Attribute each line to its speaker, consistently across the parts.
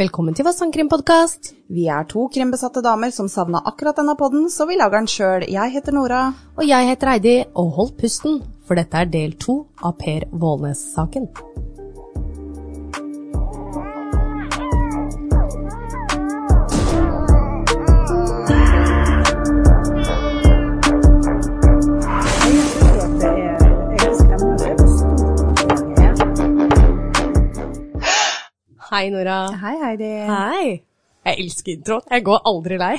Speaker 1: Velkommen til vår sangkrimpodkast.
Speaker 2: Vi er to krimbesatte damer som savna akkurat denne podden, så vi lager den sjøl. Jeg heter Nora.
Speaker 1: Og jeg heter Heidi, og hold pusten, for dette er del to av Per Vålnes-saken. Hei, Nora.
Speaker 2: Hei, Heidi.
Speaker 1: Hei. Jeg elsker introen. Jeg går aldri lei.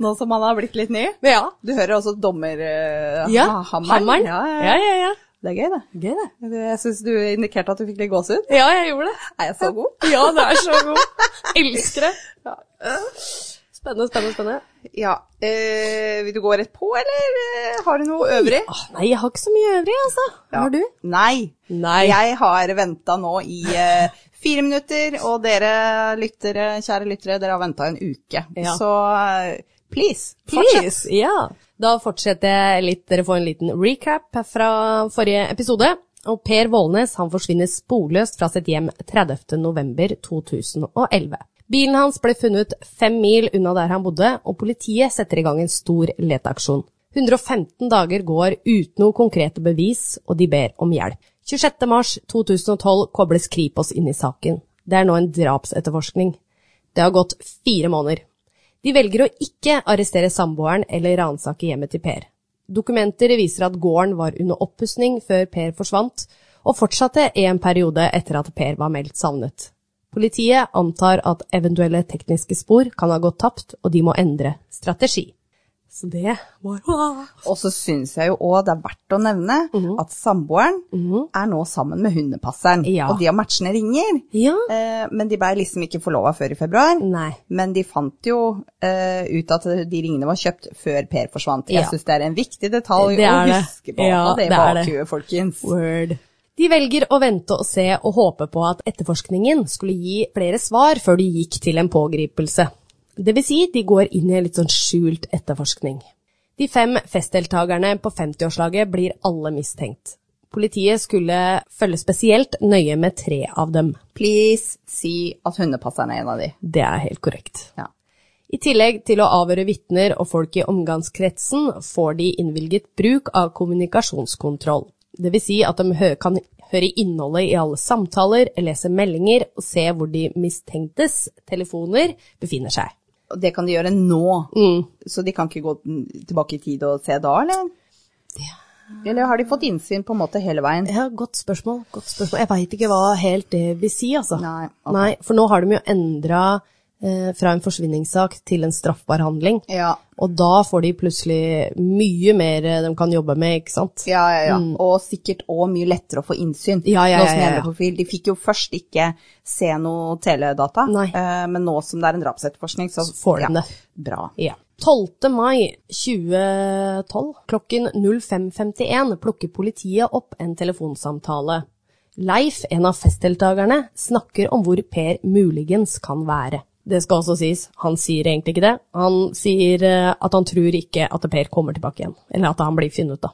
Speaker 2: Nå som han har blitt litt ny.
Speaker 1: Men ja.
Speaker 2: Du hører også dommer... eh,
Speaker 1: ja.
Speaker 2: ha-
Speaker 1: Hammeren.
Speaker 2: Ja, ja, ja.
Speaker 1: ja, ja, ja.
Speaker 2: Det er gøy, det.
Speaker 1: Gøy, det.
Speaker 2: Det- Jeg syns du indikerte at du fikk litt gåsehud.
Speaker 1: Ja, jeg gjorde det.
Speaker 2: Er jeg så god?
Speaker 1: Ja, det er så god. Elsker det. Spennende, spennende, spennende.
Speaker 2: Ja. Eh, vil du gå rett på, eller eh, har du noe øvrig?
Speaker 1: Åh, nei, jeg har ikke så mye øvrig, altså. Har du?
Speaker 2: Nei.
Speaker 1: Nei.
Speaker 2: Jeg har venta nå i eh, fire minutter, og dere lyttere, kjære lyttere, dere har venta en uke.
Speaker 1: Ja.
Speaker 2: Så eh, please,
Speaker 1: Please. Ja. Da fortsetter jeg litt. Dere får en liten recap fra forrige episode. Og Per Vålnes han forsvinner sporløst fra sitt hjem 30.11.2011. Bilen hans ble funnet fem mil unna der han bodde, og politiet setter i gang en stor leteaksjon. 115 dager går uten noe konkrete bevis, og de ber om hjelp. 26.3.2012 kobles Kripos inn i saken. Det er nå en drapsetterforskning. Det har gått fire måneder. De velger å ikke arrestere samboeren eller ransake hjemmet til Per. Dokumenter viser at gården var under oppussing før Per forsvant, og fortsatte i en periode etter at Per var meldt savnet. Politiet antar at eventuelle tekniske spor kan ha gått tapt, og de må endre strategi. Så det var
Speaker 2: Og så syns jeg jo òg det er verdt å nevne
Speaker 1: Mhm.
Speaker 2: at samboeren er nå sammen med hundepasseren,
Speaker 1: Ja.
Speaker 2: og de har matchende ringer.
Speaker 1: Ja.
Speaker 2: Eh, men de ble liksom ikke forlova før i februar.
Speaker 1: Nei.
Speaker 2: Men de fant jo eh, ut at de ringene var kjøpt før Per forsvant. Jeg
Speaker 1: Ja.
Speaker 2: syns det er en viktig detalj
Speaker 1: Det
Speaker 2: å
Speaker 1: er det.
Speaker 2: huske på.
Speaker 1: Ja,
Speaker 2: og det i
Speaker 1: det er det.
Speaker 2: bakhuet, folkens.
Speaker 1: Word. De velger å vente og se og håpe på at etterforskningen skulle gi flere svar før de gikk til en pågripelse. Det vil si, de går inn i en litt sånn skjult etterforskning. De fem festdeltakerne på 50-årslaget blir alle mistenkt. Politiet skulle følge spesielt nøye med tre av dem.
Speaker 2: Please si at hundepasseren er en av de.
Speaker 1: Det er helt korrekt.
Speaker 2: Ja.
Speaker 1: I tillegg til å avhøre vitner og folk i omgangskretsen, får de innvilget bruk av kommunikasjonskontroll. Det vil si at de hø- kan høre innholdet i alle samtaler, lese meldinger og se hvor de mistenktes telefoner befinner seg.
Speaker 2: Og det kan de gjøre nå,
Speaker 1: Mm.
Speaker 2: så de kan ikke gå den- tilbake i tid og se da, eller? Eller har de fått innsyn på en måte hele veien?
Speaker 1: Ja, godt spørsmål. Godt spørsmål. Jeg veit ikke hva helt det vil si, altså.
Speaker 2: Nei, ok.
Speaker 1: Nei, for nå har de jo endra eh, fra en forsvinningssak til en straffbar handling.
Speaker 2: Ja,
Speaker 1: Og da får de plutselig mye mer eh, de kan jobbe med, ikke sant?
Speaker 2: ja, ja. ja. Og sikkert òg mye lettere å få innsyn.
Speaker 1: Mm. Ja, ja,
Speaker 2: nå
Speaker 1: ja,
Speaker 2: som
Speaker 1: ja,
Speaker 2: jeg er
Speaker 1: ja.
Speaker 2: med på fil. De fikk jo først ikke se noe teledata,
Speaker 1: Nei.
Speaker 2: eh, men nå som det er en drapsetterforskning, så
Speaker 1: får de det.
Speaker 2: Bra.
Speaker 1: Ja. 12. mai 2012 klokken 05.51 plukker politiet opp en telefonsamtale. Leif, en av festdeltakerne, snakker om hvor Per muligens kan være. Det skal også sies, han sier egentlig ikke det. Han sier eh, at han tror ikke at Per kommer tilbake igjen, eller at han blir funnet, da.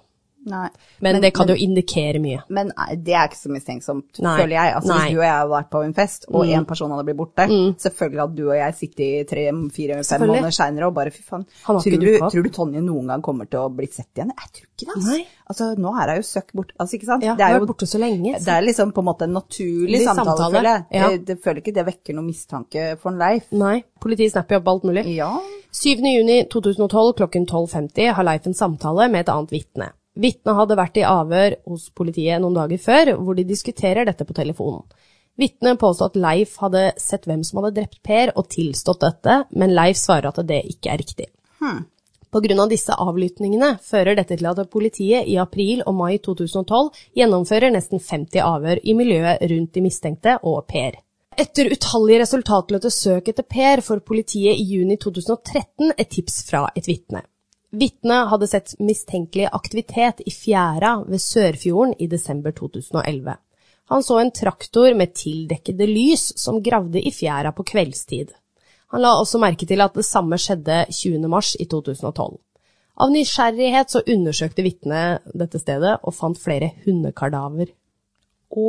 Speaker 2: Nei.
Speaker 1: Men, det kan jo indikere mye.
Speaker 2: Men nei, det er ikke så mistenksomt,
Speaker 1: Nei.
Speaker 2: føler jeg. Altså,
Speaker 1: Nei. Mm.
Speaker 2: hvis du og jeg hadde vært på en fest, og én person hadde blitt borte, selvfølgelig hadde du og jeg sittet i tre-fire-fem
Speaker 1: Selvfølgelig.
Speaker 2: måneder seinere og bare fy faen,
Speaker 1: Han har
Speaker 2: tror
Speaker 1: ikke
Speaker 2: du,
Speaker 1: dukket opp.
Speaker 2: tror du Tonje noen gang kommer til å bli sett igjen? Jeg tror ikke det, altså.
Speaker 1: Nei.
Speaker 2: altså nå er hun jo søkk bort, altså ikke sant.
Speaker 1: Ja, hun
Speaker 2: det er
Speaker 1: har
Speaker 2: jo
Speaker 1: vært borte så lenge, så-
Speaker 2: Det er liksom på en måte en naturlig
Speaker 1: Litt
Speaker 2: samtale,
Speaker 1: samtale,
Speaker 2: føler jeg.
Speaker 1: ja.
Speaker 2: Jeg, jeg føler ikke det vekker noen mistanke for en Leif.
Speaker 1: Nei, politiet snapper jo opp alt mulig.
Speaker 2: Ja.
Speaker 1: 7.6.2012 klokken 12.50 har Leif en samtale med et annet vitne. Vitnet hadde vært i avhør hos politiet noen dager før, hvor de diskuterer dette på telefonen. Vitnet påstår at Leif hadde sett hvem som hadde drept Per og tilstått dette, men Leif svarer at det ikke er riktig. På grunn av disse avlyttingene fører dette til at politiet i april og mai 2012 gjennomfører nesten 50 avhør i miljøet rundt de mistenkte og Per. Etter utallige resultatløse søk etter Per får politiet i juni 2013 et tips fra et vitne. Vitnet hadde sett mistenkelig aktivitet i fjæra ved Sørfjorden i desember 2011. Han så en traktor med tildekkede lys som gravde i fjæra på kveldstid. Han la også merke til at det samme skjedde 20. mars i 2012. Av nysgjerrighet så undersøkte vitnet dette stedet og fant flere hundekardaver. Mm.
Speaker 2: Å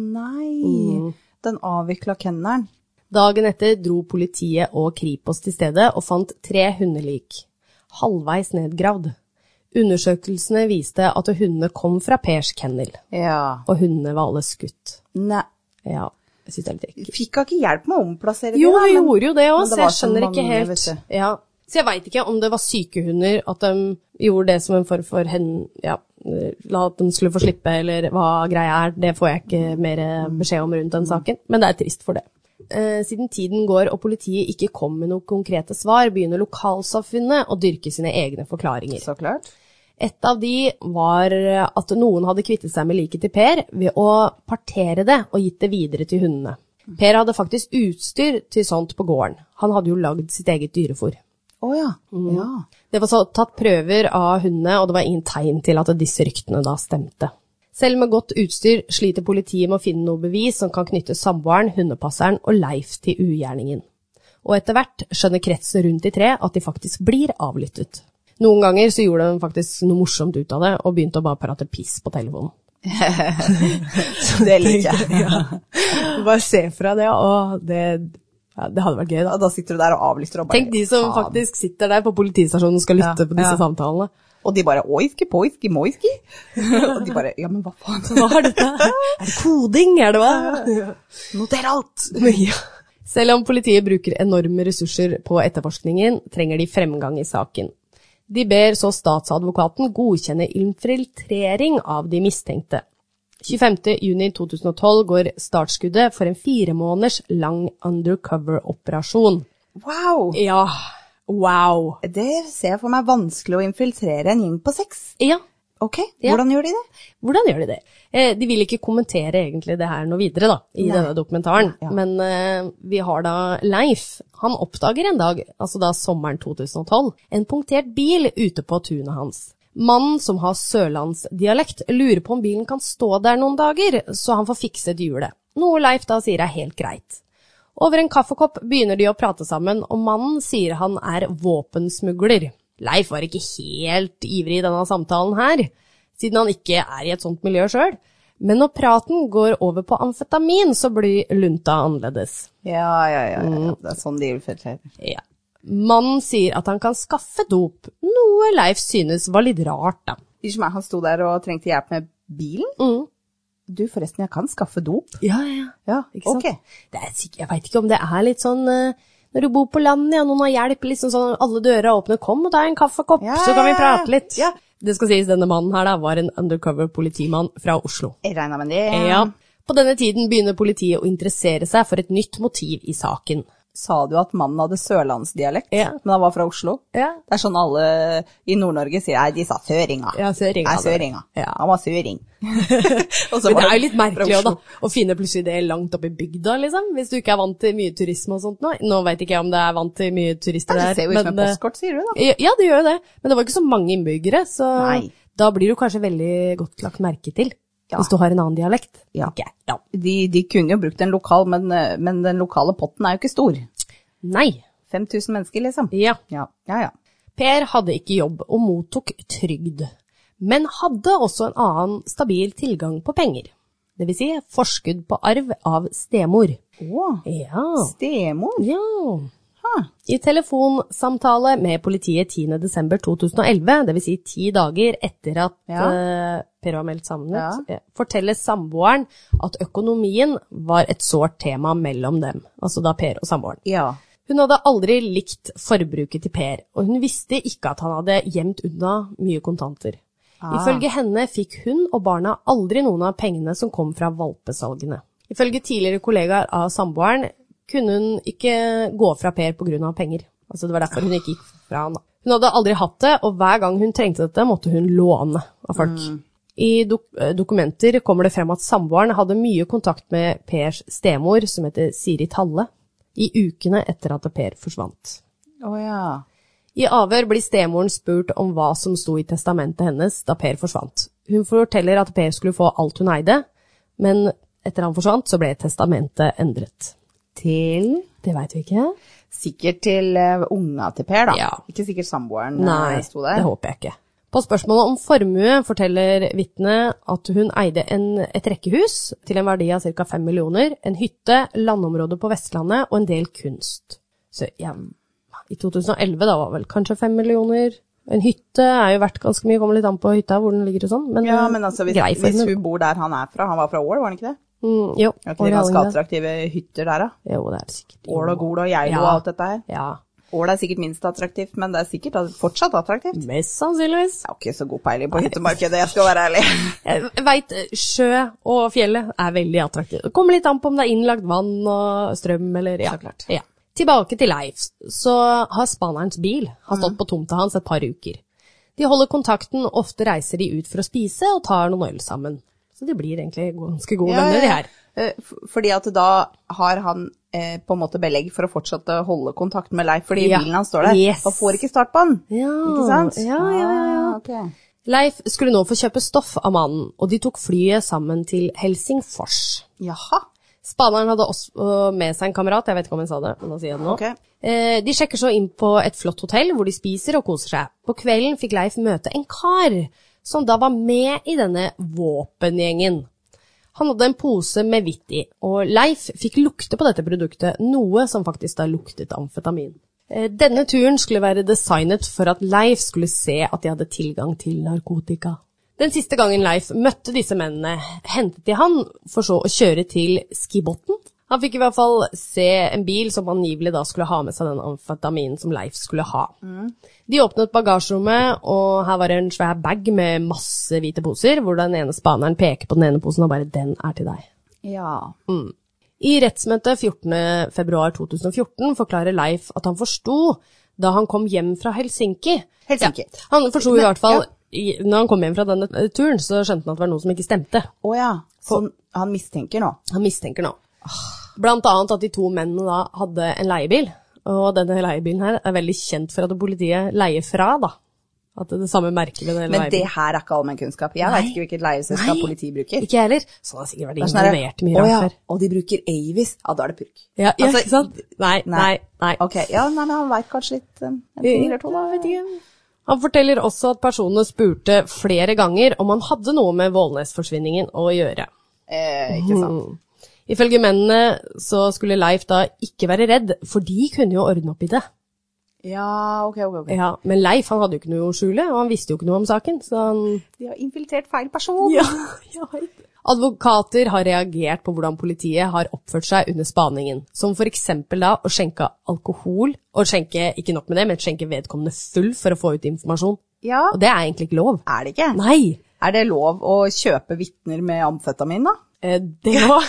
Speaker 2: nei. Den avvikla kennelen.
Speaker 1: Dagen etter dro politiet og Kripos til stedet og fant tre hundelik, halvveis nedgravd. Undersøkelsene viste at hundene kom fra Pers kennel,
Speaker 2: Ja.
Speaker 1: og hundene var alle skutt.
Speaker 2: Nei.
Speaker 1: Ja, jeg synes det er litt ekkelt.
Speaker 2: Fikk hun ikke hjelp med å omplassere
Speaker 1: Jo,
Speaker 2: det? da,
Speaker 1: vi
Speaker 2: men-
Speaker 1: gjorde jo det
Speaker 2: men
Speaker 1: òg,
Speaker 2: det
Speaker 1: så
Speaker 2: var
Speaker 1: jeg skjønner
Speaker 2: så
Speaker 1: ikke
Speaker 2: mange,
Speaker 1: helt.
Speaker 2: vet
Speaker 1: Ja. Så jeg veit ikke om det var syke hunder, at de gjorde det som en form for hen... Ja, la at de skulle få slippe, eller hva greia er. Det får jeg ikke mer eh,
Speaker 2: Mm.
Speaker 1: beskjed om rundt den saken, men det er trist for det. Eh, Siden tiden går og politiet ikke kom med noen konkrete svar, begynner lokalsamfunnet å dyrke sine egne forklaringer.
Speaker 2: Så klart.
Speaker 1: Et av de var at noen hadde kvittet seg med liket til Per ved å partere det og gitt det videre til hundene. Per hadde faktisk utstyr til sånt på gården. Han hadde jo lagd sitt eget dyrefôr.
Speaker 2: Å ja. ja.
Speaker 1: Det var så tatt prøver av hundene, og det var ingen tegn til at disse ryktene da stemte. Selv med godt utstyr sliter politiet med å finne noe bevis som kan knytte samboeren, hundepasseren og Leif til ugjerningen. Og etter hvert skjønner kretsen rundt de tre at de faktisk blir avlyttet. Noen ganger så gjorde de faktisk noe morsomt ut av det, og begynte å bare prate piss på telefonen.
Speaker 2: Det liker jeg.
Speaker 1: Bare se fra det, og det, hadde vært gøy
Speaker 2: Ja, da sitter du der og avlytter og bare
Speaker 1: Tenk de som
Speaker 2: faen.
Speaker 1: faktisk sitter der på politistasjonen og skal lytte
Speaker 2: Ja,
Speaker 1: på disse
Speaker 2: ja.
Speaker 1: samtalene.
Speaker 2: Og de bare oiski, poiski, moiski. og de bare Ja, men hva faen?
Speaker 1: Hva er dette? Er det koding, er det hva?
Speaker 2: Noter alt!
Speaker 1: Ja. Selv om politiet bruker enorme ressurser på etterforskningen, trenger de fremgang i saken. De ber så statsadvokaten godkjenne infiltrering av de mistenkte. 25.6.2012 går startskuddet for en fire måneders lang undercover-operasjon.
Speaker 2: Wow!
Speaker 1: Ja, wow.
Speaker 2: Det ser jeg for meg vanskelig å infiltrere en gjeng på seks.
Speaker 1: Ja,
Speaker 2: Ok,
Speaker 1: Ja.
Speaker 2: hvordan gjør de det?
Speaker 1: Hvordan gjør de det? Eh, de vil ikke kommentere egentlig det her noe videre da, i
Speaker 2: Nei.
Speaker 1: denne dokumentaren,
Speaker 2: Ja.
Speaker 1: men eh, vi har da Leif. Han oppdager en dag, altså da sommeren 2012, en punktert bil ute på tunet hans. Mannen som har sørlandsdialekt lurer på om bilen kan stå der noen dager, så han får fikset hjulet. Noe Leif da sier er helt greit. Over en kaffekopp begynner de å prate sammen, og mannen sier han er våpensmugler. Leif var ikke helt ivrig i denne samtalen her, siden han ikke er i et sånt miljø sjøl. Men når praten går over på amfetamin, så blir lunta annerledes.
Speaker 2: Ja, ja, ja. ja, ja. Det er sånn de infiltrerer.
Speaker 1: Ja. Mannen sier at han kan skaffe dop, noe Leif synes var litt rart, da.
Speaker 2: Unnskyld meg, han sto der og trengte hjelp med bilen? Du, forresten, jeg kan skaffe dop.
Speaker 1: Ja, ja, ja.
Speaker 2: Mm. Ja,
Speaker 1: Ikke sant?
Speaker 2: ok.
Speaker 1: Det er sikkert, jeg veit ikke om det er litt sånn eh, når du bor på landet, ja, noen har hjelp, liksom sånn alle dører er åpne, kom og ta en kaffekopp,
Speaker 2: Ja,
Speaker 1: så kan vi
Speaker 2: ja, ja.
Speaker 1: prate litt.
Speaker 2: Ja.
Speaker 1: Det skal sies, denne mannen her da, var en undercover politimann fra Oslo.
Speaker 2: Jeg regner med det.
Speaker 1: Ja. På denne tiden begynner politiet å interessere seg for et nytt motiv i saken.
Speaker 2: Sa du at mannen hadde sørlandsdialekt,
Speaker 1: Ja.
Speaker 2: men han var fra Oslo?
Speaker 1: Ja.
Speaker 2: Det er sånn alle i Nord-Norge sier Nei, de sa søringa.
Speaker 1: Ja, søringa,
Speaker 2: Nei,
Speaker 1: det.
Speaker 2: søringa.
Speaker 1: Ja.
Speaker 2: Han var søring. Og så
Speaker 1: Men
Speaker 2: var
Speaker 1: det er
Speaker 2: han
Speaker 1: jo litt
Speaker 2: fra
Speaker 1: merkelig også,
Speaker 2: Oslo.
Speaker 1: da, å finne plutselig det langt oppe i bygda, liksom, hvis du ikke er vant til mye turisme og sånt nå. Nå veit ikke jeg om det er vant til mye turister
Speaker 2: Det
Speaker 1: der.
Speaker 2: ser jo ut som et
Speaker 1: men, eh,
Speaker 2: postkort, sier du da.
Speaker 1: Ja, ja, det gjør jo det. Men det var ikke så mange innbyggere, så
Speaker 2: Nei.
Speaker 1: da blir du kanskje veldig godt lagt merke til.
Speaker 2: Ja.
Speaker 1: Hvis du har en annen dialekt.
Speaker 2: Ja.
Speaker 1: tenker jeg. ja.
Speaker 2: De, de kunne jo brukt en lokal, men, eh, men den lokale potten er jo ikke stor.
Speaker 1: Nei.
Speaker 2: 5000 mennesker, liksom.
Speaker 1: Ja.
Speaker 2: Ja, ja. ja.
Speaker 1: Per hadde ikke jobb og mottok trygd, men hadde også en annen stabil tilgang på penger. Det vil si forskudd på arv av stemor.
Speaker 2: Å,
Speaker 1: Ja.
Speaker 2: stemor.
Speaker 1: ja.
Speaker 2: Ha.
Speaker 1: I telefonsamtale med politiet 10.12.2011, dvs. Si ti dager etter at
Speaker 2: Ja.
Speaker 1: eh, Per var meldt savnet,
Speaker 2: Ja.
Speaker 1: eh, forteller samboeren at økonomien var et sårt tema mellom dem, altså da Per og samboeren.
Speaker 2: Ja.
Speaker 1: Hun hadde aldri likt forbruket til Per, og hun visste ikke at han hadde gjemt unna mye kontanter.
Speaker 2: Ah.
Speaker 1: Ifølge henne fikk hun og barna aldri noen av pengene som kom fra valpesalgene. Ifølge tidligere kollegaer av samboeren kunne hun ikke gå fra Per pga. penger. Altså det var derfor hun ikke gikk fra han. da. Hun hadde aldri hatt det, og hver gang hun trengte dette, måtte hun låne av folk. I dok eh, dokumenter kommer det frem at samboeren hadde mye kontakt med Pers stemor, som heter Siri Talle, i ukene etter at Per forsvant.
Speaker 2: Å ja.
Speaker 1: I avhør blir stemoren spurt om hva som sto i testamentet hennes da Per forsvant. Hun forteller at Per skulle få alt hun eide, men etter han forsvant, så ble testamentet endret.
Speaker 2: Til
Speaker 1: Det veit vi ikke.
Speaker 2: Sikkert til eh, unga til Per, da.
Speaker 1: Ja.
Speaker 2: Ikke sikkert samboeren eh,
Speaker 1: Nei,
Speaker 2: sto der.
Speaker 1: det håper jeg ikke. På spørsmålet om formue forteller vitnet at hun eide en, et rekkehus til en verdi av ca. 5 millioner, en hytte, landområde på Vestlandet og en del kunst. Så ja, i 2011 da var vel kanskje 5 millioner. En hytte er jo verdt ganske mye, kommer litt an på hytta hvor den ligger og sånn, men,
Speaker 2: Ja, men altså, hvis,
Speaker 1: grei
Speaker 2: hvis
Speaker 1: formue.
Speaker 2: hun bor der han er fra, han var fra Ål, var han ikke det?
Speaker 1: Mm, jo,
Speaker 2: Er ikke
Speaker 1: og
Speaker 2: det ganske
Speaker 1: Rallinge.
Speaker 2: attraktive hytter der, da?
Speaker 1: Jo, det er det sikkert.
Speaker 2: Ål og Gol og Geilo
Speaker 1: Ja.
Speaker 2: og alt dette her.
Speaker 1: Ja,
Speaker 2: Ål er sikkert minst attraktivt, men det er sikkert at- fortsatt attraktivt.
Speaker 1: mest sannsynligvis.
Speaker 2: Jeg har ikke så god peiling på hyttemarkedet, jeg skal være ærlig.
Speaker 1: Jeg veit sjø og fjellet er veldig attraktivt. Det kommer litt an på om det er innlagt vann og strøm eller ja. ja. Tilbake til Leif, så har spanerens bil har
Speaker 2: Mhm.
Speaker 1: stått på tomta hans et par uker. De holder kontakten, ofte reiser de ut for å spise og tar noen øl sammen. Så de blir egentlig ganske gode
Speaker 2: Ja,
Speaker 1: venner, de
Speaker 2: ja.
Speaker 1: her.
Speaker 2: Eh, f- Fordi at da har han eh, på en måte belegg for å fortsette å holde kontakt med Leif, fordi
Speaker 1: Ja.
Speaker 2: bilen hans står der.
Speaker 1: Yes.
Speaker 2: Og får ikke start på den.
Speaker 1: Ja,
Speaker 2: Ikke sant?
Speaker 1: Ja, ja, ja. ja.
Speaker 2: Ah, ok.
Speaker 1: Leif skulle nå få kjøpe stoff av mannen, og de tok flyet sammen til Helsingfors.
Speaker 2: Jaha.
Speaker 1: Spaneren hadde også med seg en kamerat, jeg vet ikke om jeg sa det, men da sier jeg det nå.
Speaker 2: Ok.
Speaker 1: Eh, De sjekker så inn på et flott hotell hvor de spiser og koser seg. På kvelden fikk Leif møte en kar som da var med i denne våpengjengen. Han hadde en pose med hvitt i, og Leif fikk lukte på dette produktet, noe som faktisk da luktet amfetamin. Eh, Denne turen skulle være designet for at Leif skulle se at de hadde tilgang til narkotika. Den siste gangen Leif møtte disse mennene, hentet de han for så å kjøre til Skibotn. Han fikk i hvert fall se en bil som angivelig da skulle ha med seg den amfetaminen som Leif skulle ha. De åpnet bagasjerommet, og her var det en svær bag med masse hvite poser, hvor den ene spaneren peker på den ene posen og bare 'den er til deg'.
Speaker 2: Ja.
Speaker 1: I rettsmøtet 14.2.2014 forklarer Leif at han forsto da han kom hjem fra Helsinki.
Speaker 2: Helsinki.
Speaker 1: Ja, han forsto i hvert fall, i- når han kom hjem fra denne eh, turen, så skjønte han at det var noe som ikke stemte.
Speaker 2: Å ja. Så han mistenker nå.
Speaker 1: Han mistenker nå. Blant annet at de to mennene da hadde en leiebil, og denne leiebilen her er veldig kjent for at politiet leier fra, da. At det er det samme merket ved den
Speaker 2: Men det
Speaker 1: leiebilen.
Speaker 2: her er ikke allmennkunnskap. Jeg vet ikke hvilket leieselskap
Speaker 1: Nei.
Speaker 2: politiet bruker.
Speaker 1: Ikke jeg heller. Så han har sikkert vært
Speaker 2: Det er sånn der,
Speaker 1: involvert i mye
Speaker 2: «Å
Speaker 1: rart
Speaker 2: ja,
Speaker 1: før.
Speaker 2: Og de bruker Avis. Ja, da er det purk.
Speaker 1: Ja, ja,
Speaker 2: Altså,
Speaker 1: ikke sant? Nei, nei, nei.
Speaker 2: Ok, ja, nei, men han veit kanskje litt um, en ting eller to, da.
Speaker 1: Jeg vet ikke. Han forteller også at personene spurte flere ganger om han hadde noe med Vålnes-forsvinningen å gjøre.
Speaker 2: Eh, ikke sant.
Speaker 1: Ifølge mennene så skulle Leif da ikke være redd, for de kunne jo ordne opp i det.
Speaker 2: Ja, ok, ok. ok.
Speaker 1: Ja, men Leif han hadde jo ikke noe å skjule, og han visste jo ikke noe om saken, så han
Speaker 2: De har infiltrert feil person.
Speaker 1: ja, Advokater har reagert på hvordan politiet har oppført seg under spaningen, som for eksempel da å skjenke alkohol, og skjenke, ikke nok med det, men skjenke vedkommende full for å få ut informasjon.
Speaker 2: Ja.
Speaker 1: Og det er egentlig ikke lov.
Speaker 2: Er det ikke?
Speaker 1: Nei!
Speaker 2: Er det lov å kjøpe vitner med amfetamin, da?
Speaker 1: Eh, Det, var,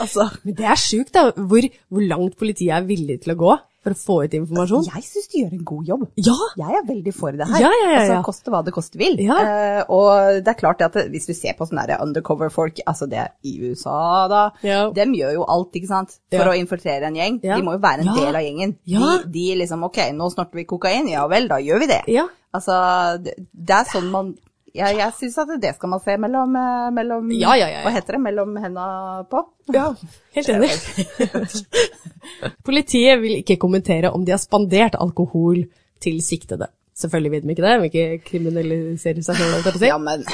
Speaker 2: Altså,
Speaker 1: men det er sjukt, da, hvor, hvor langt politiet er villig til å gå for å få ut informasjon.
Speaker 2: jeg syns de gjør en god jobb.
Speaker 1: Ja!
Speaker 2: Jeg er veldig for det her.
Speaker 1: Ja, ja, ja, ja.
Speaker 2: Altså, koste hva det koste vil.
Speaker 1: Ja.
Speaker 2: Eh, og det er klart det at det- hvis du ser på sånne der undercover-folk, altså det i USA da,
Speaker 1: Ja.
Speaker 2: dem gjør jo alt, ikke sant,
Speaker 1: Ja.
Speaker 2: for å infiltrere en gjeng.
Speaker 1: Ja.
Speaker 2: De må jo være en
Speaker 1: Ja.
Speaker 2: del av gjengen.
Speaker 1: Ja.
Speaker 2: De, de liksom, ok, nå snorter vi kokain, ja vel, da gjør vi det.
Speaker 1: Ja.
Speaker 2: Altså, det, det er sånn man... Ja, jeg synes at det skal man se mellom, eh, mellom
Speaker 1: Ja, ja, ja, ja.
Speaker 2: hva heter det, mellom hendene på.
Speaker 1: Ja, helt enig. Politiet vil ikke kommentere om de har spandert alkohol til siktede. Selvfølgelig vet de ikke det, de vil ikke kriminalisere seg selv. holdt jeg på å si.
Speaker 2: Ja, men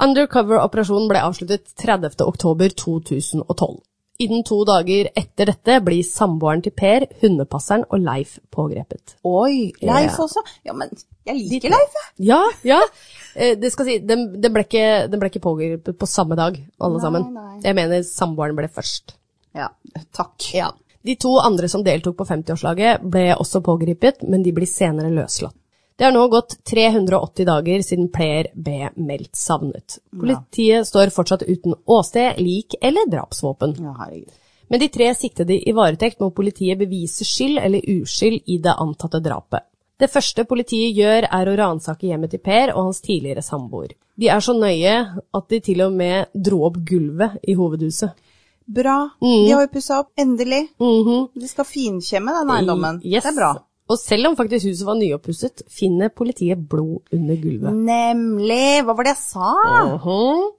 Speaker 1: Undercover-operasjonen ble avsluttet 30. oktober 2012. Innen to dager etter dette blir samboeren til Per, hundepasseren og Leif pågrepet.
Speaker 2: Oi, Leif
Speaker 1: Ja.
Speaker 2: også. Ja, men jeg liker Leif, jeg.
Speaker 1: Ja, ja. Eh, Det skal si, den, den, ble ikke, den ble ikke pågrepet på samme dag, alle
Speaker 2: Nei,
Speaker 1: sammen.
Speaker 2: nei.
Speaker 1: Jeg mener samboeren ble først.
Speaker 2: Ja, takk.
Speaker 1: Ja. De to andre som deltok på 50-årslaget ble også pågrepet, men de blir senere løslatt. Det har nå gått 380 dager siden Per ble meldt savnet. Politiet står fortsatt uten åsted, lik eller drapsvåpen.
Speaker 2: Ja, herregud.
Speaker 1: Med de tre siktede i varetekt må politiet bevise skyld eller uskyld i det antatte drapet. Det første politiet gjør er å ransake hjemmet til Per og hans tidligere samboer. De er så nøye at de til og med dro opp gulvet i hovedhuset.
Speaker 2: Bra.
Speaker 1: Mhm.
Speaker 2: De har jo pussa opp, endelig. De skal finkjemme den
Speaker 1: Mm,
Speaker 2: eiendommen.
Speaker 1: Yes.
Speaker 2: Det er bra.
Speaker 1: Og selv om faktisk huset var nyoppusset, finner politiet blod under gulvet.
Speaker 2: Nemlig. Hva var det jeg sa?
Speaker 1: Mhm.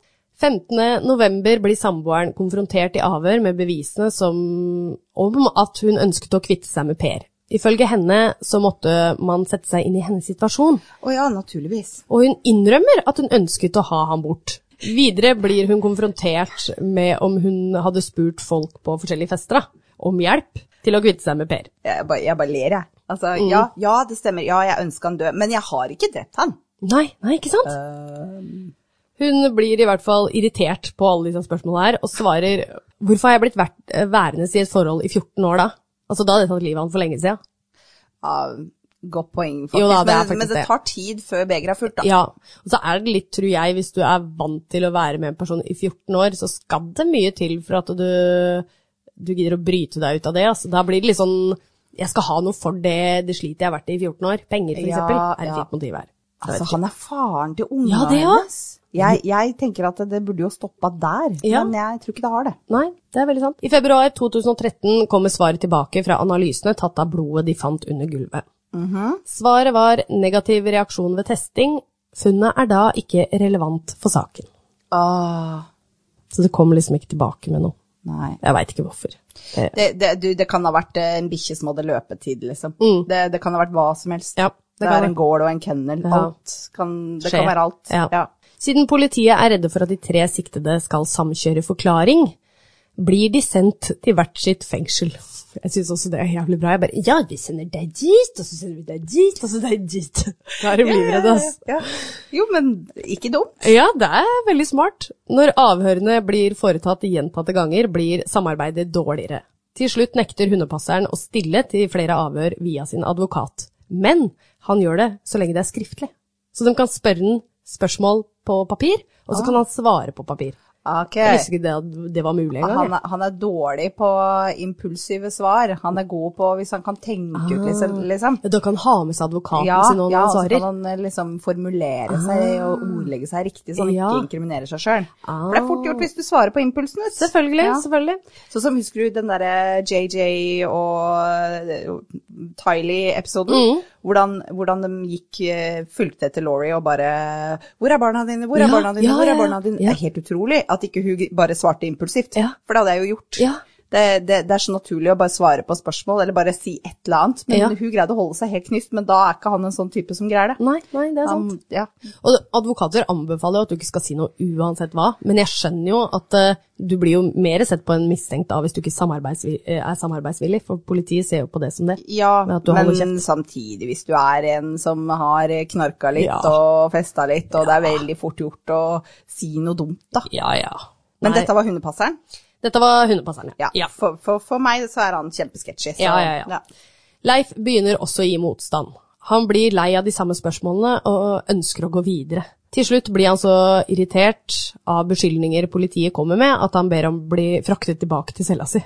Speaker 1: 15. november blir samboeren konfrontert i avhør med bevisene som om at hun ønsket å kvitte seg med Per. Ifølge henne så måtte man sette seg inn i hennes situasjon,
Speaker 2: Å ja, naturligvis.
Speaker 1: og hun innrømmer at hun ønsket å ha ham bort. Videre blir hun konfrontert med om hun hadde spurt folk på forskjellige fester da, om hjelp til å kvitte seg med Per.
Speaker 2: Jeg bare, jeg bare ler, jeg. Altså, ja,
Speaker 1: Mhm.
Speaker 2: ja, det stemmer. Ja, jeg ønsker han død. Men jeg har ikke drept han.
Speaker 1: Nei, nei, ikke sant? Eh, Hun blir i hvert fall irritert på alle disse spørsmålene her, og svarer hvorfor har jeg blitt vært, eh, værende i et forhold i 14 år da? Altså da hadde jeg tatt livet av han for lenge siden.
Speaker 2: Ja, godt poeng, faktisk.
Speaker 1: Jo da, det er
Speaker 2: men,
Speaker 1: faktisk
Speaker 2: men det
Speaker 1: det.
Speaker 2: tar tid før begeret er fullt, da.
Speaker 1: Ja, og så er det litt, tror jeg, hvis du er vant til å være med en person i 14 år, så skal det mye til for at du, du gidder å bryte deg ut av det. Altså, da blir det litt sånn, jeg skal ha noe for det, det slitet jeg har vært i i 14 år. Penger for
Speaker 2: Ja,
Speaker 1: eksempel, er et
Speaker 2: ja.
Speaker 1: fint motiv her. Jeg vet
Speaker 2: Altså,
Speaker 1: ikke.
Speaker 2: han er faren til ungene
Speaker 1: Ja, det
Speaker 2: hennes. Jeg, jeg tenker at det burde jo stoppa der,
Speaker 1: Ja.
Speaker 2: men jeg tror ikke det har det.
Speaker 1: Nei, det er veldig sant. I februar 2013 kommer svaret tilbake fra analysene tatt av blodet de fant under gulvet.
Speaker 2: Mhm.
Speaker 1: Svaret var negativ reaksjon ved testing. Funnet er da ikke relevant for saken.
Speaker 2: Ah,
Speaker 1: Så det kommer liksom ikke tilbake med noe.
Speaker 2: nei.
Speaker 1: Jeg veit ikke hvorfor. Eh,
Speaker 2: Det, det, du, det kan ha vært eh, en bikkje som hadde løpetid, liksom. Det, det kan ha vært hva som helst.
Speaker 1: Mm. Ja, det
Speaker 2: det
Speaker 1: kan
Speaker 2: er en
Speaker 1: være.
Speaker 2: gård og en kennel.
Speaker 1: Ja.
Speaker 2: Alt kan, det
Speaker 1: skjer.
Speaker 2: kan være alt.
Speaker 1: Ja. Siden politiet er redde for at de tre siktede skal samkjøre forklaring, blir de sendt til hvert sitt fengsel. Jeg syns også det er jævlig bra. Jeg bare Ja, vi sender deg dit, og så sender vi deg dit, og så deg dit. Da er de livredde, ass.
Speaker 2: Ja. Jo, men ikke dumt.
Speaker 1: Ja, det er veldig smart. Når avhørene blir foretatt gjentatte ganger, blir samarbeidet dårligere. Til slutt nekter hundepasseren å stille til flere avhør via sin advokat. Men han gjør det så lenge det er skriftlig. Så de kan spørre han spørsmål på papir, og så kan han svare på papir.
Speaker 2: Ok.
Speaker 1: Jeg visste ikke det, at det var mulig engang.
Speaker 2: Han
Speaker 1: jeg.
Speaker 2: er, han er dårlig på impulsive svar. Han er god på hvis han kan tenke ut, liksom. liksom.
Speaker 1: Da kan han ha med seg advokaten
Speaker 2: Ja,
Speaker 1: Ah. sin når
Speaker 2: ja,
Speaker 1: han
Speaker 2: og så
Speaker 1: svarer. Ah.
Speaker 2: kan han eh, liksom formulere seg og ordlegge seg riktig, så han
Speaker 1: Ja. Ah.
Speaker 2: ikke inkriminerer seg sjøl. For det er fort gjort hvis du svarer på impulsen. vet du.
Speaker 1: Selvfølgelig,
Speaker 2: Ja.
Speaker 1: selvfølgelig.
Speaker 2: Sånn som husker du den derre JJ og eh, Tylee-episoden?
Speaker 1: Mm.
Speaker 2: Hvordan, hvordan de gikk, eh, fulgte etter Laurie og bare 'Hvor er barna dine? Hvor
Speaker 1: Ja,
Speaker 2: er barna dine?
Speaker 1: ja,
Speaker 2: Hvor
Speaker 1: ja,
Speaker 2: er barna
Speaker 1: ja.
Speaker 2: dine?'
Speaker 1: Ja.
Speaker 2: Det er helt utrolig at ikke hun bare svarte impulsivt,
Speaker 1: Ja.
Speaker 2: for det hadde jeg jo gjort.
Speaker 1: Ja.
Speaker 2: Det, det, det er så naturlig å bare svare på spørsmål eller bare si et eller annet. Men
Speaker 1: Ja.
Speaker 2: hun greide å holde seg helt knust, men da er ikke han en sånn type som greier det.
Speaker 1: Nei, nei, det er sant.
Speaker 2: Han, ja.
Speaker 1: Og advokater anbefaler jo at du ikke skal si noe uansett hva, men jeg skjønner jo at eh, du blir jo mer sett på en mistenkt da hvis du ikke samarbeidsvi- eh, er samarbeidsvillig, for politiet ser jo på det som det.
Speaker 2: Ja,
Speaker 1: Men at du holder
Speaker 2: men samtidig, hvis du er en som har knarka litt
Speaker 1: Ja.
Speaker 2: og festa litt, og det er veldig fort gjort å si noe dumt, da.
Speaker 1: Ja, ja.
Speaker 2: Men
Speaker 1: Nei,
Speaker 2: dette var hundepasseren?
Speaker 1: dette var hundepasseren,
Speaker 2: Ja. For, for, for meg så er han kjempesketsjy. så-
Speaker 1: Ja, ja, ja. Leif begynner også å gi motstand. Han blir lei av de samme spørsmålene og ønsker å gå videre. Til slutt blir han så irritert av beskyldninger politiet kommer med, at han ber om å bli fraktet tilbake til cella si.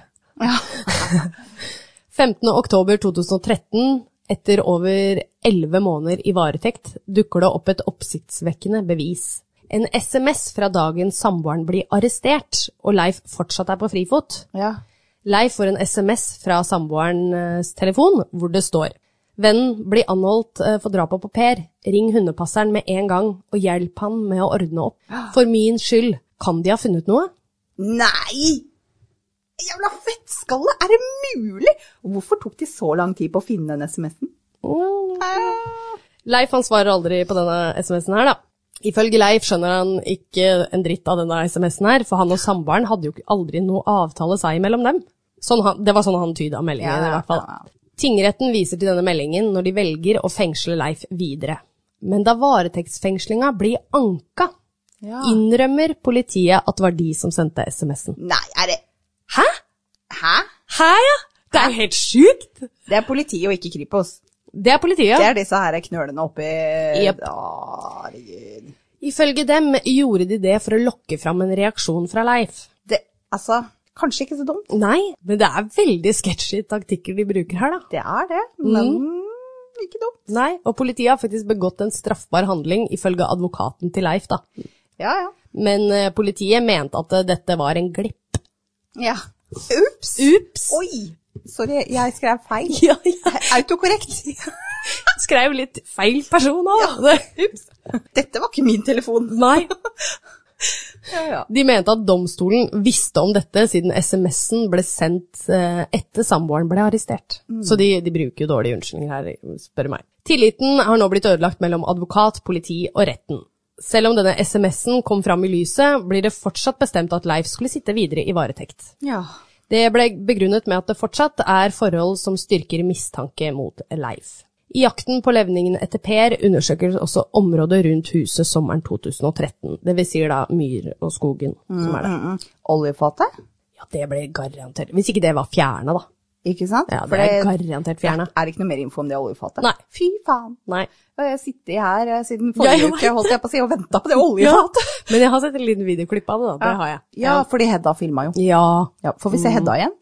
Speaker 1: 15. oktober 2013, etter over 11 måneder i varetekt, dukker det opp et oppsiktsvekkende bevis. En SMS fra dagen samboeren blir arrestert, og Leif fortsatt er på frifot.
Speaker 2: Ja.
Speaker 1: Leif får en SMS fra samboerens telefon hvor det står Vennen blir anholdt eh, for drapet på Per. Ring hundepasseren med en gang og hjelp han med å ordne opp. For min skyld, kan de ha funnet noe?
Speaker 2: Nei! Jævla fettskalle! Er det mulig? Hvorfor tok de så lang tid på å finne den SMS-en?
Speaker 1: Leif han svarer aldri på denne SMS-en her, da. Ifølge Leif skjønner han ikke en dritt av denne SMS-en her, for han og samboeren hadde jo ikke- aldri noe avtale seg imellom dem. Sånn han, det var sånn han tyda meldingen,
Speaker 2: Ja,
Speaker 1: i hvert fall.
Speaker 2: ja,
Speaker 1: Tingretten viser til denne meldingen når de velger å fengsle Leif videre. Men da varetektsfengslinga blir anka, innrømmer politiet at det var de som sendte SMS-en.
Speaker 2: Nei, er det
Speaker 1: Hæ?
Speaker 2: Hæ?
Speaker 1: Hæ, ja? Det er jo helt sjukt!
Speaker 2: Det er politiet og ikke Kripos.
Speaker 1: Det er politiet.
Speaker 2: Det er disse her knølene oppi
Speaker 1: Jep.
Speaker 2: Herregud.
Speaker 1: Ifølge dem gjorde de det for å lokke fram en reaksjon fra Leif.
Speaker 2: Det, altså, kanskje ikke så dumt.
Speaker 1: Nei, men det er veldig sketchy taktikker de bruker her, da.
Speaker 2: Det er det,
Speaker 1: Mm.
Speaker 2: men ikke dumt.
Speaker 1: Nei, og politiet har faktisk begått en straffbar handling, ifølge advokaten til Leif, da.
Speaker 2: Ja, ja.
Speaker 1: Men eh, politiet mente at eh, dette var en glipp.
Speaker 2: ja. Ups!
Speaker 1: Ups!
Speaker 2: Oi! Sorry, jeg skrev feil.
Speaker 1: Ja, jeg
Speaker 2: Autokorrekt.
Speaker 1: skrev litt feil person òg.
Speaker 2: Ups. Dette var ikke min telefon.
Speaker 1: Nei.
Speaker 2: ja.
Speaker 1: De mente at domstolen visste om dette siden SMS-en ble sendt eh, etter samboeren ble arrestert. Så de, de bruker jo dårlige unnskyldninger her, spør du meg. Tilliten har nå blitt ødelagt mellom advokat, politi og retten. Selv om denne SMS-en kom fram i lyset, blir det fortsatt bestemt at Leif skulle sitte videre i varetekt.
Speaker 2: Ja.
Speaker 1: Det ble begrunnet med at det fortsatt er forhold som styrker mistanke mot Leif. I jakten på levningen etter Per undersøkes også området rundt huset sommeren 2013, det vil si da myr og skogen som er der.
Speaker 2: Mm. Oljefatet,
Speaker 1: Ja, det ble garantert, hvis ikke det var fjernet da.
Speaker 2: ikke sant?
Speaker 1: Ja,
Speaker 2: For
Speaker 1: det er garantert fjernet.
Speaker 2: Er ikke noe mer info om det oljefatet?
Speaker 1: Nei.
Speaker 2: Fy faen.
Speaker 1: Nei.
Speaker 2: Og jeg sitter her eh, siden forrige
Speaker 1: Jeg vet
Speaker 2: uke, holdt jeg på å si, og venta på det
Speaker 1: Ja,
Speaker 2: oljefatet.
Speaker 1: men jeg har sett en liten videoklipp av det da, det har jeg. Mm.
Speaker 2: Ja, fordi Hedda filma jo.
Speaker 1: Ja.
Speaker 2: Ja, får vi se Hedda igjen?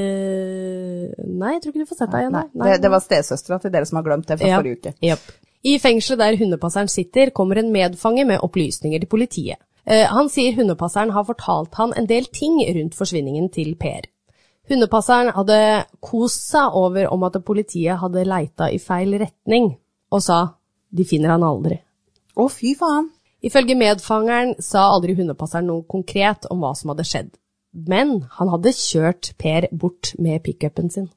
Speaker 1: Eh, nei, jeg tror ikke du får sett deg igjen.
Speaker 2: Nei, det, det var stesøstera til dere som har glemt det fra forrige uke.
Speaker 1: Jep. I fengselet der hundepasseren sitter, kommer en medfange med opplysninger til politiet. Eh, han sier hundepasseren har fortalt han en del ting rundt forsvinningen til Per. Hundepasseren hadde kost seg over om at politiet hadde leita i feil retning, og sa de finner han aldri.
Speaker 2: Å, fy faen.
Speaker 1: Ifølge medfangeren sa aldri hundepasseren noe konkret om hva som hadde skjedd, men han hadde kjørt Per bort med pickupen sin.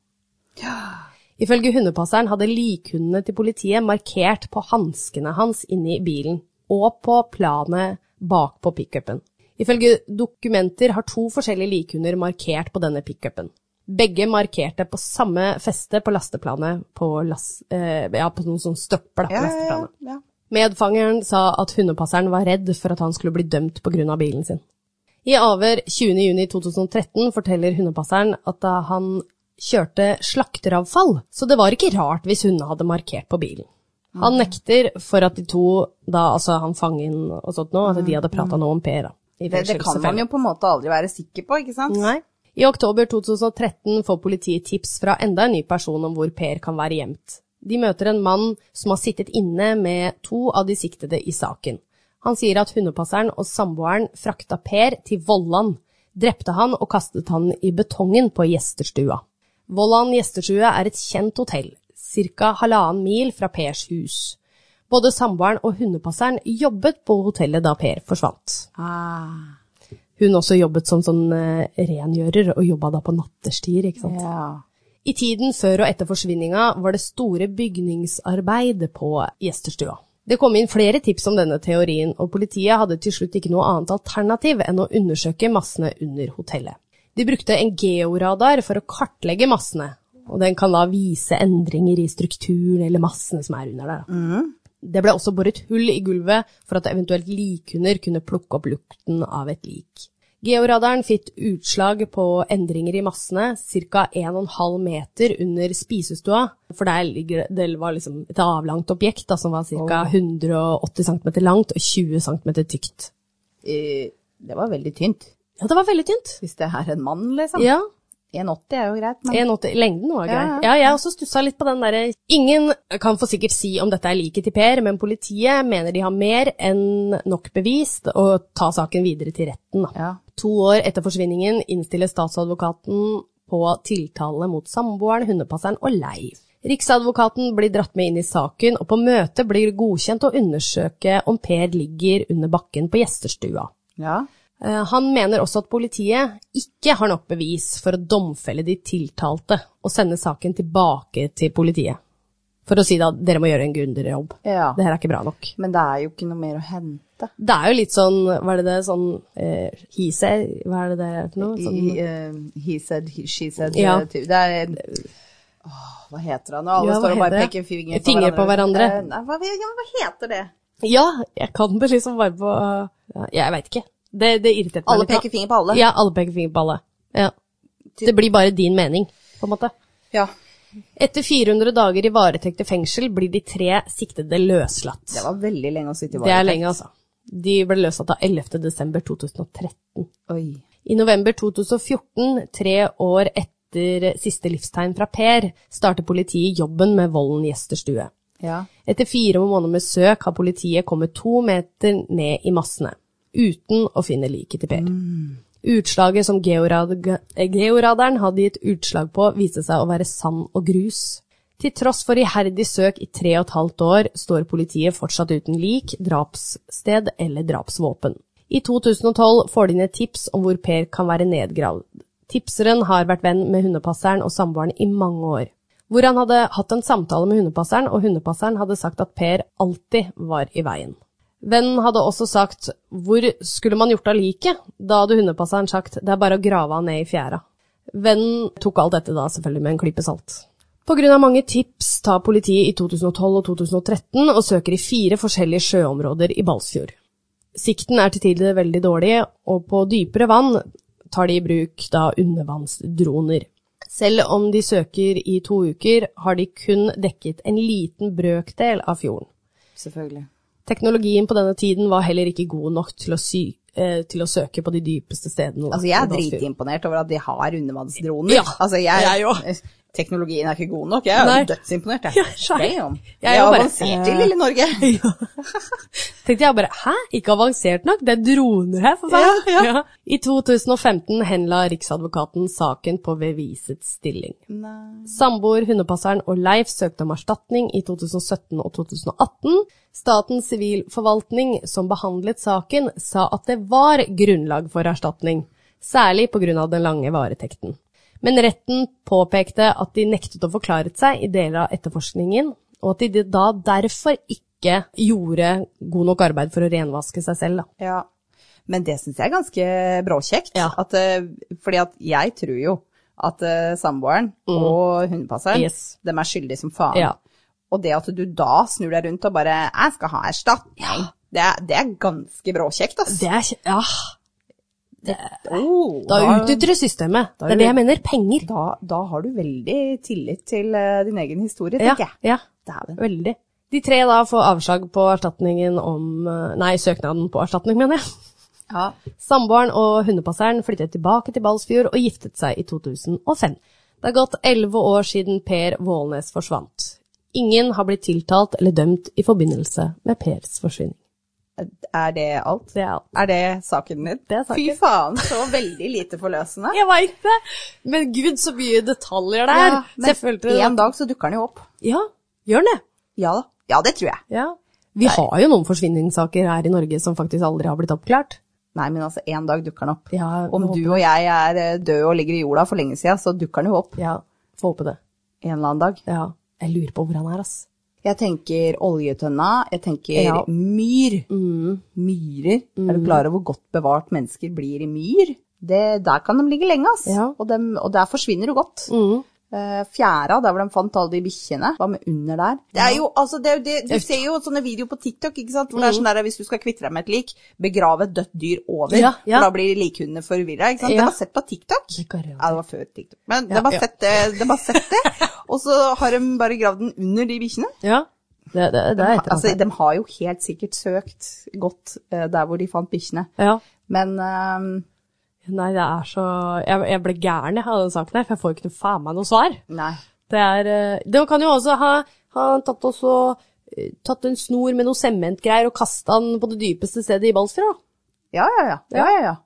Speaker 1: Ifølge hundepasseren hadde likhundene til politiet markert på hanskene hans inne i bilen, og på planet bak på pickupen. Ifølge dokumenter har to forskjellige likhunder markert på denne pickupen. Begge markerte på samme feste på lasteplanet, på, las, eh, ja, på noen sånn støpper da, på
Speaker 2: Ja, ja, ja,
Speaker 1: lasteplanet.
Speaker 2: ja.
Speaker 1: Medfangeren sa at hundepasseren var redd for at han skulle bli dømt pga. bilen sin. I avhør 20.6.2013 forteller hundepasseren at da han kjørte slakteravfall, så det var ikke rart hvis hundene hadde markert på bilen. Han nekter for at de to, da altså han fangen og sånt nå, at de hadde prata noe om Per. da. i
Speaker 2: Mm. Det, det kan man jo på en måte aldri være sikker på, ikke sant?
Speaker 1: Nei. I oktober 2013 får politiet tips fra enda en ny person om hvor Per kan være gjemt. De møter en mann som har sittet inne med to av de siktede i saken. Han sier at hundepasseren og samboeren frakta Per til Vollan, drepte han og kastet han i betongen på gjesterstua. Vollan gjestestue er et kjent hotell, ca. halvannen mil fra Pers hus. Både samboeren og hundepasseren jobbet på hotellet da Per forsvant
Speaker 2: Ah,
Speaker 1: hun også jobbet som sånn eh, rengjører, og jobba da på nattestier, ikke sant.
Speaker 2: ja.
Speaker 1: I tiden før og etter forsvinninga var det store bygningsarbeid på gjesterstua. Det kom inn flere tips om denne teorien, og politiet hadde til slutt ikke noe annet alternativ enn å undersøke massene under hotellet. De brukte en georadar for å kartlegge massene, og den kan da vise endringer i strukturen eller massene som er under der. da. Det ble også boret hull i gulvet for at eventuelt likhunder kunne plukke opp lukten av et lik. Georadaren fikk utslag på endringer i massene ca. 1,5 meter under spisestua, for der ligger det, det var liksom et avlangt objekt da, som var ca. 180 cm langt og 20 cm tykt.
Speaker 2: Eh, Det var veldig tynt.
Speaker 1: Ja, det var veldig tynt.
Speaker 2: Hvis det er en mann, liksom.
Speaker 1: Ja,
Speaker 2: 1,80 er jo greit, men
Speaker 1: 1,80 lengden var grei.
Speaker 2: Ja, ja.
Speaker 1: Ja, jeg også stussa litt på den derre Ingen kan for sikkert si om dette er liket til Per, men politiet mener de har mer enn nok bevis å ta saken videre til retten. Da.
Speaker 2: ja.
Speaker 1: To år etter forsvinningen innstiller statsadvokaten på tiltale mot samboeren, hundepasseren og Leiv. Riksadvokaten blir dratt med inn i saken, og på møtet blir det godkjent å undersøke om Per ligger under bakken på gjesterstua.
Speaker 2: ja.
Speaker 1: Eh, Han mener også at politiet ikke har nok bevis for å domfelle de tiltalte og sende saken tilbake til politiet. For å si da, dere må gjøre en grundigere jobb.
Speaker 2: Ja.
Speaker 1: Det her er ikke bra nok.
Speaker 2: Men det er jo ikke noe mer å hente.
Speaker 1: Det er jo litt sånn, hva er det det, sånn eh, he said, hva er det det er for noe? Sånn,
Speaker 2: I, eh, he said, he, she said.
Speaker 1: Ja.
Speaker 2: eh, ty- Det er Åh, Hva heter han nå? Alle
Speaker 1: Ja, hva
Speaker 2: står og bare
Speaker 1: heter
Speaker 2: peker
Speaker 1: det?
Speaker 2: finger på
Speaker 1: Finger
Speaker 2: hverandre.
Speaker 1: på hverandre.
Speaker 2: Eh, Nei, hva, ja, men hva heter det?
Speaker 1: ja, jeg kan det liksom bare på ja, Jeg veit ikke. Det, det irriterte meg
Speaker 2: Alle
Speaker 1: litt, da.
Speaker 2: peker finger på alle.
Speaker 1: Ja, alle peker finger på alle. Ja. Det blir bare din mening, på en måte.
Speaker 2: Ja.
Speaker 1: Etter 400 dager i varetekt i fengsel blir de tre siktede løslatt.
Speaker 2: Det var veldig lenge å sitte i
Speaker 1: Det er
Speaker 2: varetekt.
Speaker 1: lenge, altså. De ble løslatt av 11. desember 2013.
Speaker 2: Oi.
Speaker 1: I november 2014, tre år etter siste livstegn fra Per, starter politiet jobben med Vollen gjesterstue.
Speaker 2: Ja.
Speaker 1: Etter fire måneder med søk har politiet kommet to meter ned i massene, uten å finne liket til Per. Utslaget som georad eh, georadaren hadde gitt utslag på, viste seg å være sand og grus. Til tross for iherdig søk i tre og et halvt år, står politiet fortsatt uten lik, drapssted eller drapsvåpen. I 2012 får de inn et tips om hvor Per kan være nedgravd. Tipseren har vært venn med hundepasseren og samboeren i mange år, hvor han hadde hatt en samtale med hundepasseren, og hundepasseren hadde sagt at Per alltid var i veien. Vennen hadde også sagt hvor skulle man gjort av liket? Da hadde hundepasseren sagt det er bare å grave han ned i fjæra. Vennen tok alt dette da selvfølgelig med en klype salt. På grunn av mange tips tar politiet i 2012 og 2013 og søker i fire forskjellige sjøområder i Balsfjord. Sikten er til tider veldig dårlig, og på dypere vann tar de i bruk da undervannsdroner. Selv om de søker i to uker, har de kun dekket en liten brøkdel av fjorden.
Speaker 2: Selvfølgelig.
Speaker 1: Teknologien på denne tiden var heller ikke god nok til å, sy eh, til å søke på de dypeste stedene.
Speaker 2: Altså, jeg er
Speaker 1: i Balsfjord.
Speaker 2: dritimponert over at de har undervannsdroner.
Speaker 1: Ja,
Speaker 2: altså,
Speaker 1: jeg òg.
Speaker 2: Teknologien er ikke god nok. Jeg er
Speaker 1: Nei.
Speaker 2: jo dødsimponert, jeg.
Speaker 1: Ja, skjønner.
Speaker 2: Damn.
Speaker 1: Jeg
Speaker 2: Jeg
Speaker 1: er
Speaker 2: er
Speaker 1: bare-
Speaker 2: avansert i lille Norge.
Speaker 1: Tenkte jeg bare hæ, ikke avansert nok, det er droner her, for faen.
Speaker 2: Ja, ja.
Speaker 1: I 2015 henla Riksadvokaten saken på bevisets stilling.
Speaker 2: Nei.
Speaker 1: Samboer, hundepasseren og Leif søkte om erstatning i 2017 og 2018. Statens sivilforvaltning, som behandlet saken, sa at det var grunnlag for erstatning, særlig pga. den lange varetekten. Men retten påpekte at de nektet å forklare seg i deler av etterforskningen, og at de da derfor ikke gjorde god nok arbeid for å renvaske seg selv. Da.
Speaker 2: Ja. Men det syns jeg er ganske bråkjekt.
Speaker 1: Ja.
Speaker 2: At, eh, fordi at jeg tror jo at eh, samboeren og hundepasseren,
Speaker 1: Mm. Yes.
Speaker 2: dem er skyldige som faen.
Speaker 1: Ja.
Speaker 2: Og det at du da snur deg rundt og bare 'jeg skal ha erstatning', det, er, det er ganske bråkjekt, ass.
Speaker 1: Det er, ja,
Speaker 2: Oh,
Speaker 1: da utnytter du systemet. Det er det jeg mener, penger.
Speaker 2: da, da har du veldig tillit til eh, din egen historie,
Speaker 1: Ja,
Speaker 2: tenker jeg.
Speaker 1: ja.
Speaker 2: Dæven.
Speaker 1: Veldig. De tre da får avslag på erstatningen om eh, Nei, søknaden på erstatning, mener jeg.
Speaker 2: Ja.
Speaker 1: Samboeren og hundepasseren flyttet tilbake til Balsfjord og giftet seg i 2005. Det har gått elleve år siden Per Vålnes forsvant. Ingen har blitt tiltalt eller dømt i forbindelse med Pers forsvinning.
Speaker 2: Er det alt?
Speaker 1: Det er alt.
Speaker 2: Er det saken din?
Speaker 1: Det er saken.
Speaker 2: Fy faen, så veldig lite forløsende.
Speaker 1: Jeg veit det! Men gud, så mye detaljer det er! Så jeg følte det-
Speaker 2: en dag så dukker den jo opp.
Speaker 1: Ja, gjør det.
Speaker 2: Ja da. Ja, det tror jeg.
Speaker 1: Ja. Vi har jo noen forsvinningssaker her i Norge som faktisk aldri har blitt oppklart.
Speaker 2: Nei, men altså, en dag dukker den opp.
Speaker 1: Ja,
Speaker 2: Om du og jeg er eh, døde og ligger i jorda for lenge siden, så dukker den jo opp
Speaker 1: Ja, får håpe det.
Speaker 2: en eller annen dag.
Speaker 1: Ja, jeg lurer på hvor han er, ass.
Speaker 2: Jeg tenker oljetønna, jeg tenker
Speaker 1: Ja. Mm.
Speaker 2: myr. Myrer. Er du klar over hvor godt bevart mennesker blir i myr? Det, der kan de ligge lenge, ass.
Speaker 1: Ja. Mm.
Speaker 2: Og, dem, og der forsvinner du godt. Eh, Fjæra, der hvor de fant alle de bikkjene. Hva med under der? Det er jo, altså, det er jo det, du ser jo sånne videoer på TikTok, ikke sant? hvor det er
Speaker 1: Mm.
Speaker 2: sånn der hvis du skal kvitte deg med et lik, begrave et dødt dyr over.
Speaker 1: Ja, ja.
Speaker 2: For da blir likhundene forvirra. ikke sant?
Speaker 1: Ja.
Speaker 2: Det var sett på TikTok.
Speaker 1: Det kan jeg.
Speaker 2: Ja, det var før TikTok. Men det var sett det. det, var sett det. Og så har de bare gravd den under de bikkjene.
Speaker 1: Ja, det, det, det er et eller
Speaker 2: Altså,
Speaker 1: annet.
Speaker 2: de har jo helt sikkert søkt godt eh, der hvor de fant bikkjene.
Speaker 1: Ja.
Speaker 2: Men ehm,
Speaker 1: Nei, det er så Jeg, jeg ble gæren jeg, av den saken her, for jeg får ikke noe faen meg noe svar.
Speaker 2: nei.
Speaker 1: Det er eh, Det kan jo også ha, ha tatt også eh, Tatt en snor med noe sementgreier og kasta den på det dypeste stedet i Balsfjord, da.
Speaker 2: Ja, ja, ja. ja, ja, ja.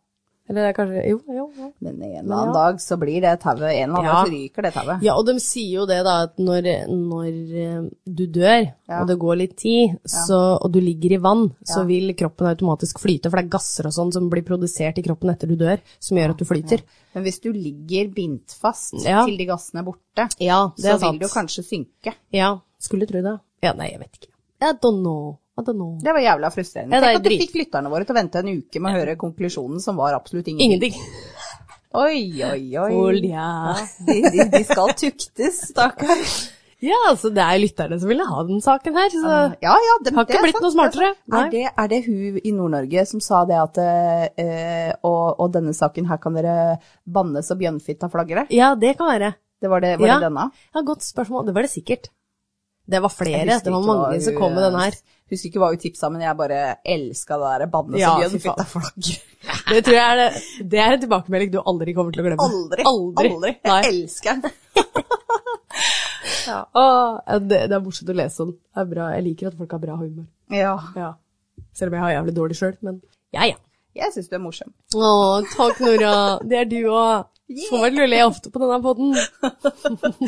Speaker 1: Eller det er kanskje Jo, jo. jo.
Speaker 2: Men en eller annen
Speaker 1: Ja.
Speaker 2: dag så blir det tauet En eller annen
Speaker 1: Ja.
Speaker 2: dag så ryker det tauet.
Speaker 1: Ja, og de sier jo det da, at når, når eh, du dør,
Speaker 2: Ja.
Speaker 1: og det går litt tid, så, og du ligger i vann, så
Speaker 2: Ja.
Speaker 1: vil kroppen automatisk flyte, for det er gasser og sånn som blir produsert i kroppen etter du dør, som gjør at du flyter.
Speaker 2: Men hvis du ligger bindt fast
Speaker 1: Ja.
Speaker 2: til de gassene er borte,
Speaker 1: Ja, det
Speaker 2: så
Speaker 1: er sant.
Speaker 2: vil du kanskje synke.
Speaker 1: Ja, skulle tro det. Ja, nei, jeg vet ikke. I don't know. I don't know.
Speaker 2: Det var jævla frustrerende.
Speaker 1: Ja, det er
Speaker 2: Tenk at du
Speaker 1: drit.
Speaker 2: fikk lytterne våre til å vente en uke med å høre konklusjonen som var absolutt ingenting.
Speaker 1: Ingenting.
Speaker 2: Oi, oi, oi.
Speaker 1: Olja.
Speaker 2: De, de, de skal tuktes, stakkar.
Speaker 1: Ja, altså det er lytterne som ville ha den saken her, så
Speaker 2: Ja, ja, det,
Speaker 1: Har ikke
Speaker 2: det er
Speaker 1: blitt
Speaker 2: sant,
Speaker 1: noe smartere.
Speaker 2: det Er, sant. er, det, er det hun i Nord-Norge som sa det at eh, og, og denne saken her kan dere banne så bjønnfitta flagrer?
Speaker 1: ja, det kan være.
Speaker 2: Det var det, var
Speaker 1: Ja.
Speaker 2: det denne?
Speaker 1: Ja, godt spørsmål. Det var det sikkert. Det var
Speaker 2: Jeg
Speaker 1: flere,
Speaker 2: husker
Speaker 1: det var
Speaker 2: ikke hva
Speaker 1: mange
Speaker 2: hun-
Speaker 1: som kom med den her.
Speaker 2: Husker ikke hva hun tipsa, men jeg bare elska det der banne
Speaker 1: Ja, fy
Speaker 2: så
Speaker 1: faen.
Speaker 2: bjønnfitta flagrer.
Speaker 1: Det tror jeg er det. Det er en tilbakemelding du aldri kommer til å glemme.
Speaker 2: Aldri.
Speaker 1: Aldri.
Speaker 2: Jeg
Speaker 1: Nei.
Speaker 2: elsker den.
Speaker 1: Åh, ja, det, det er morsomt å lese om. Det er bra. Jeg liker at folk har bra humor.
Speaker 2: Ja.
Speaker 1: Ja. Selv om jeg har jævlig dårlig sjøl, men ja, ja.
Speaker 2: Jeg syns du er morsom.
Speaker 1: Å, takk Nora. Det er du òg. Får vel le ofte på denne poden.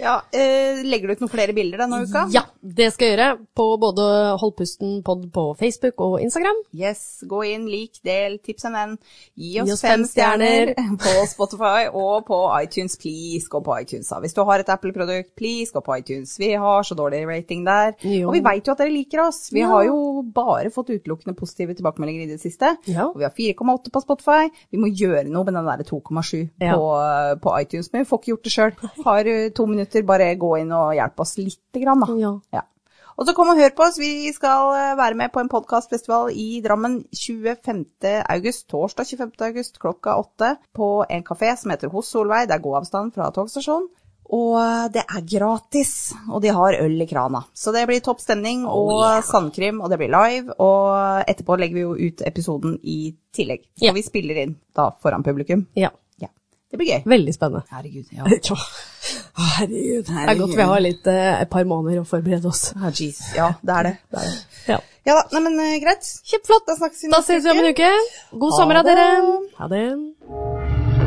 Speaker 2: Ja, eh, legger du ut noen flere bilder denne uka?
Speaker 1: Ja, Det skal jeg gjøre på både Hold pusten pod på Facebook og Instagram.
Speaker 2: Yes, gå inn, lik, del, tips en venn. Gi
Speaker 1: Gi
Speaker 2: oss,
Speaker 1: oss
Speaker 2: fem
Speaker 1: fem
Speaker 2: stjerner på Spotify og på iTunes. Please, gå på iTunes. da. Hvis du har et Apple-produkt, please, gå på iTunes. Vi har så dårlig rating der.
Speaker 1: Jo.
Speaker 2: Og vi veit jo at dere liker oss. Vi
Speaker 1: Ja.
Speaker 2: har jo bare fått utelukkende positive tilbakemeldinger i det siste.
Speaker 1: Ja.
Speaker 2: Og vi har 4,8 på Spotify. Vi må gjøre noe med den derre 2,7
Speaker 1: Ja.
Speaker 2: på, eh, på iTunes, men vi får ikke gjort det sjøl. Har uh, to minutter, bare gå inn og hjelp oss lite grann, da.
Speaker 1: Ja.
Speaker 2: Ja. Og så kom og hør på oss. Vi skal eh, være med på en podkastfestival i Drammen 25. august, torsdag 25. august klokka åtte på en kafé som heter Hos Solveig. Det er gåavstand fra togstasjonen. Og eh, det er gratis, og de har øl i krana. Så det blir topp stemning og sandkrim, og det blir live. Og eh, etterpå legger vi jo ut episoden i tillegg. Så
Speaker 1: Ja.
Speaker 2: vi spiller inn da foran publikum.
Speaker 1: ja.
Speaker 2: Ja. Det blir gøy.
Speaker 1: Veldig spennende.
Speaker 2: Herregud, ja.
Speaker 1: Ja.
Speaker 2: Herregud, herregud.
Speaker 1: Det er godt vi har litt, eh, et par måneder å forberede oss.
Speaker 2: Ah, jeez. Ja, det er det. det, er det.
Speaker 1: Ja.
Speaker 2: Ja da, nei, men eh, greit. Kjempeflott. Da snakkes vi
Speaker 1: Da ses vi om en uke. God sommer av
Speaker 2: det.
Speaker 1: dere. Ha det.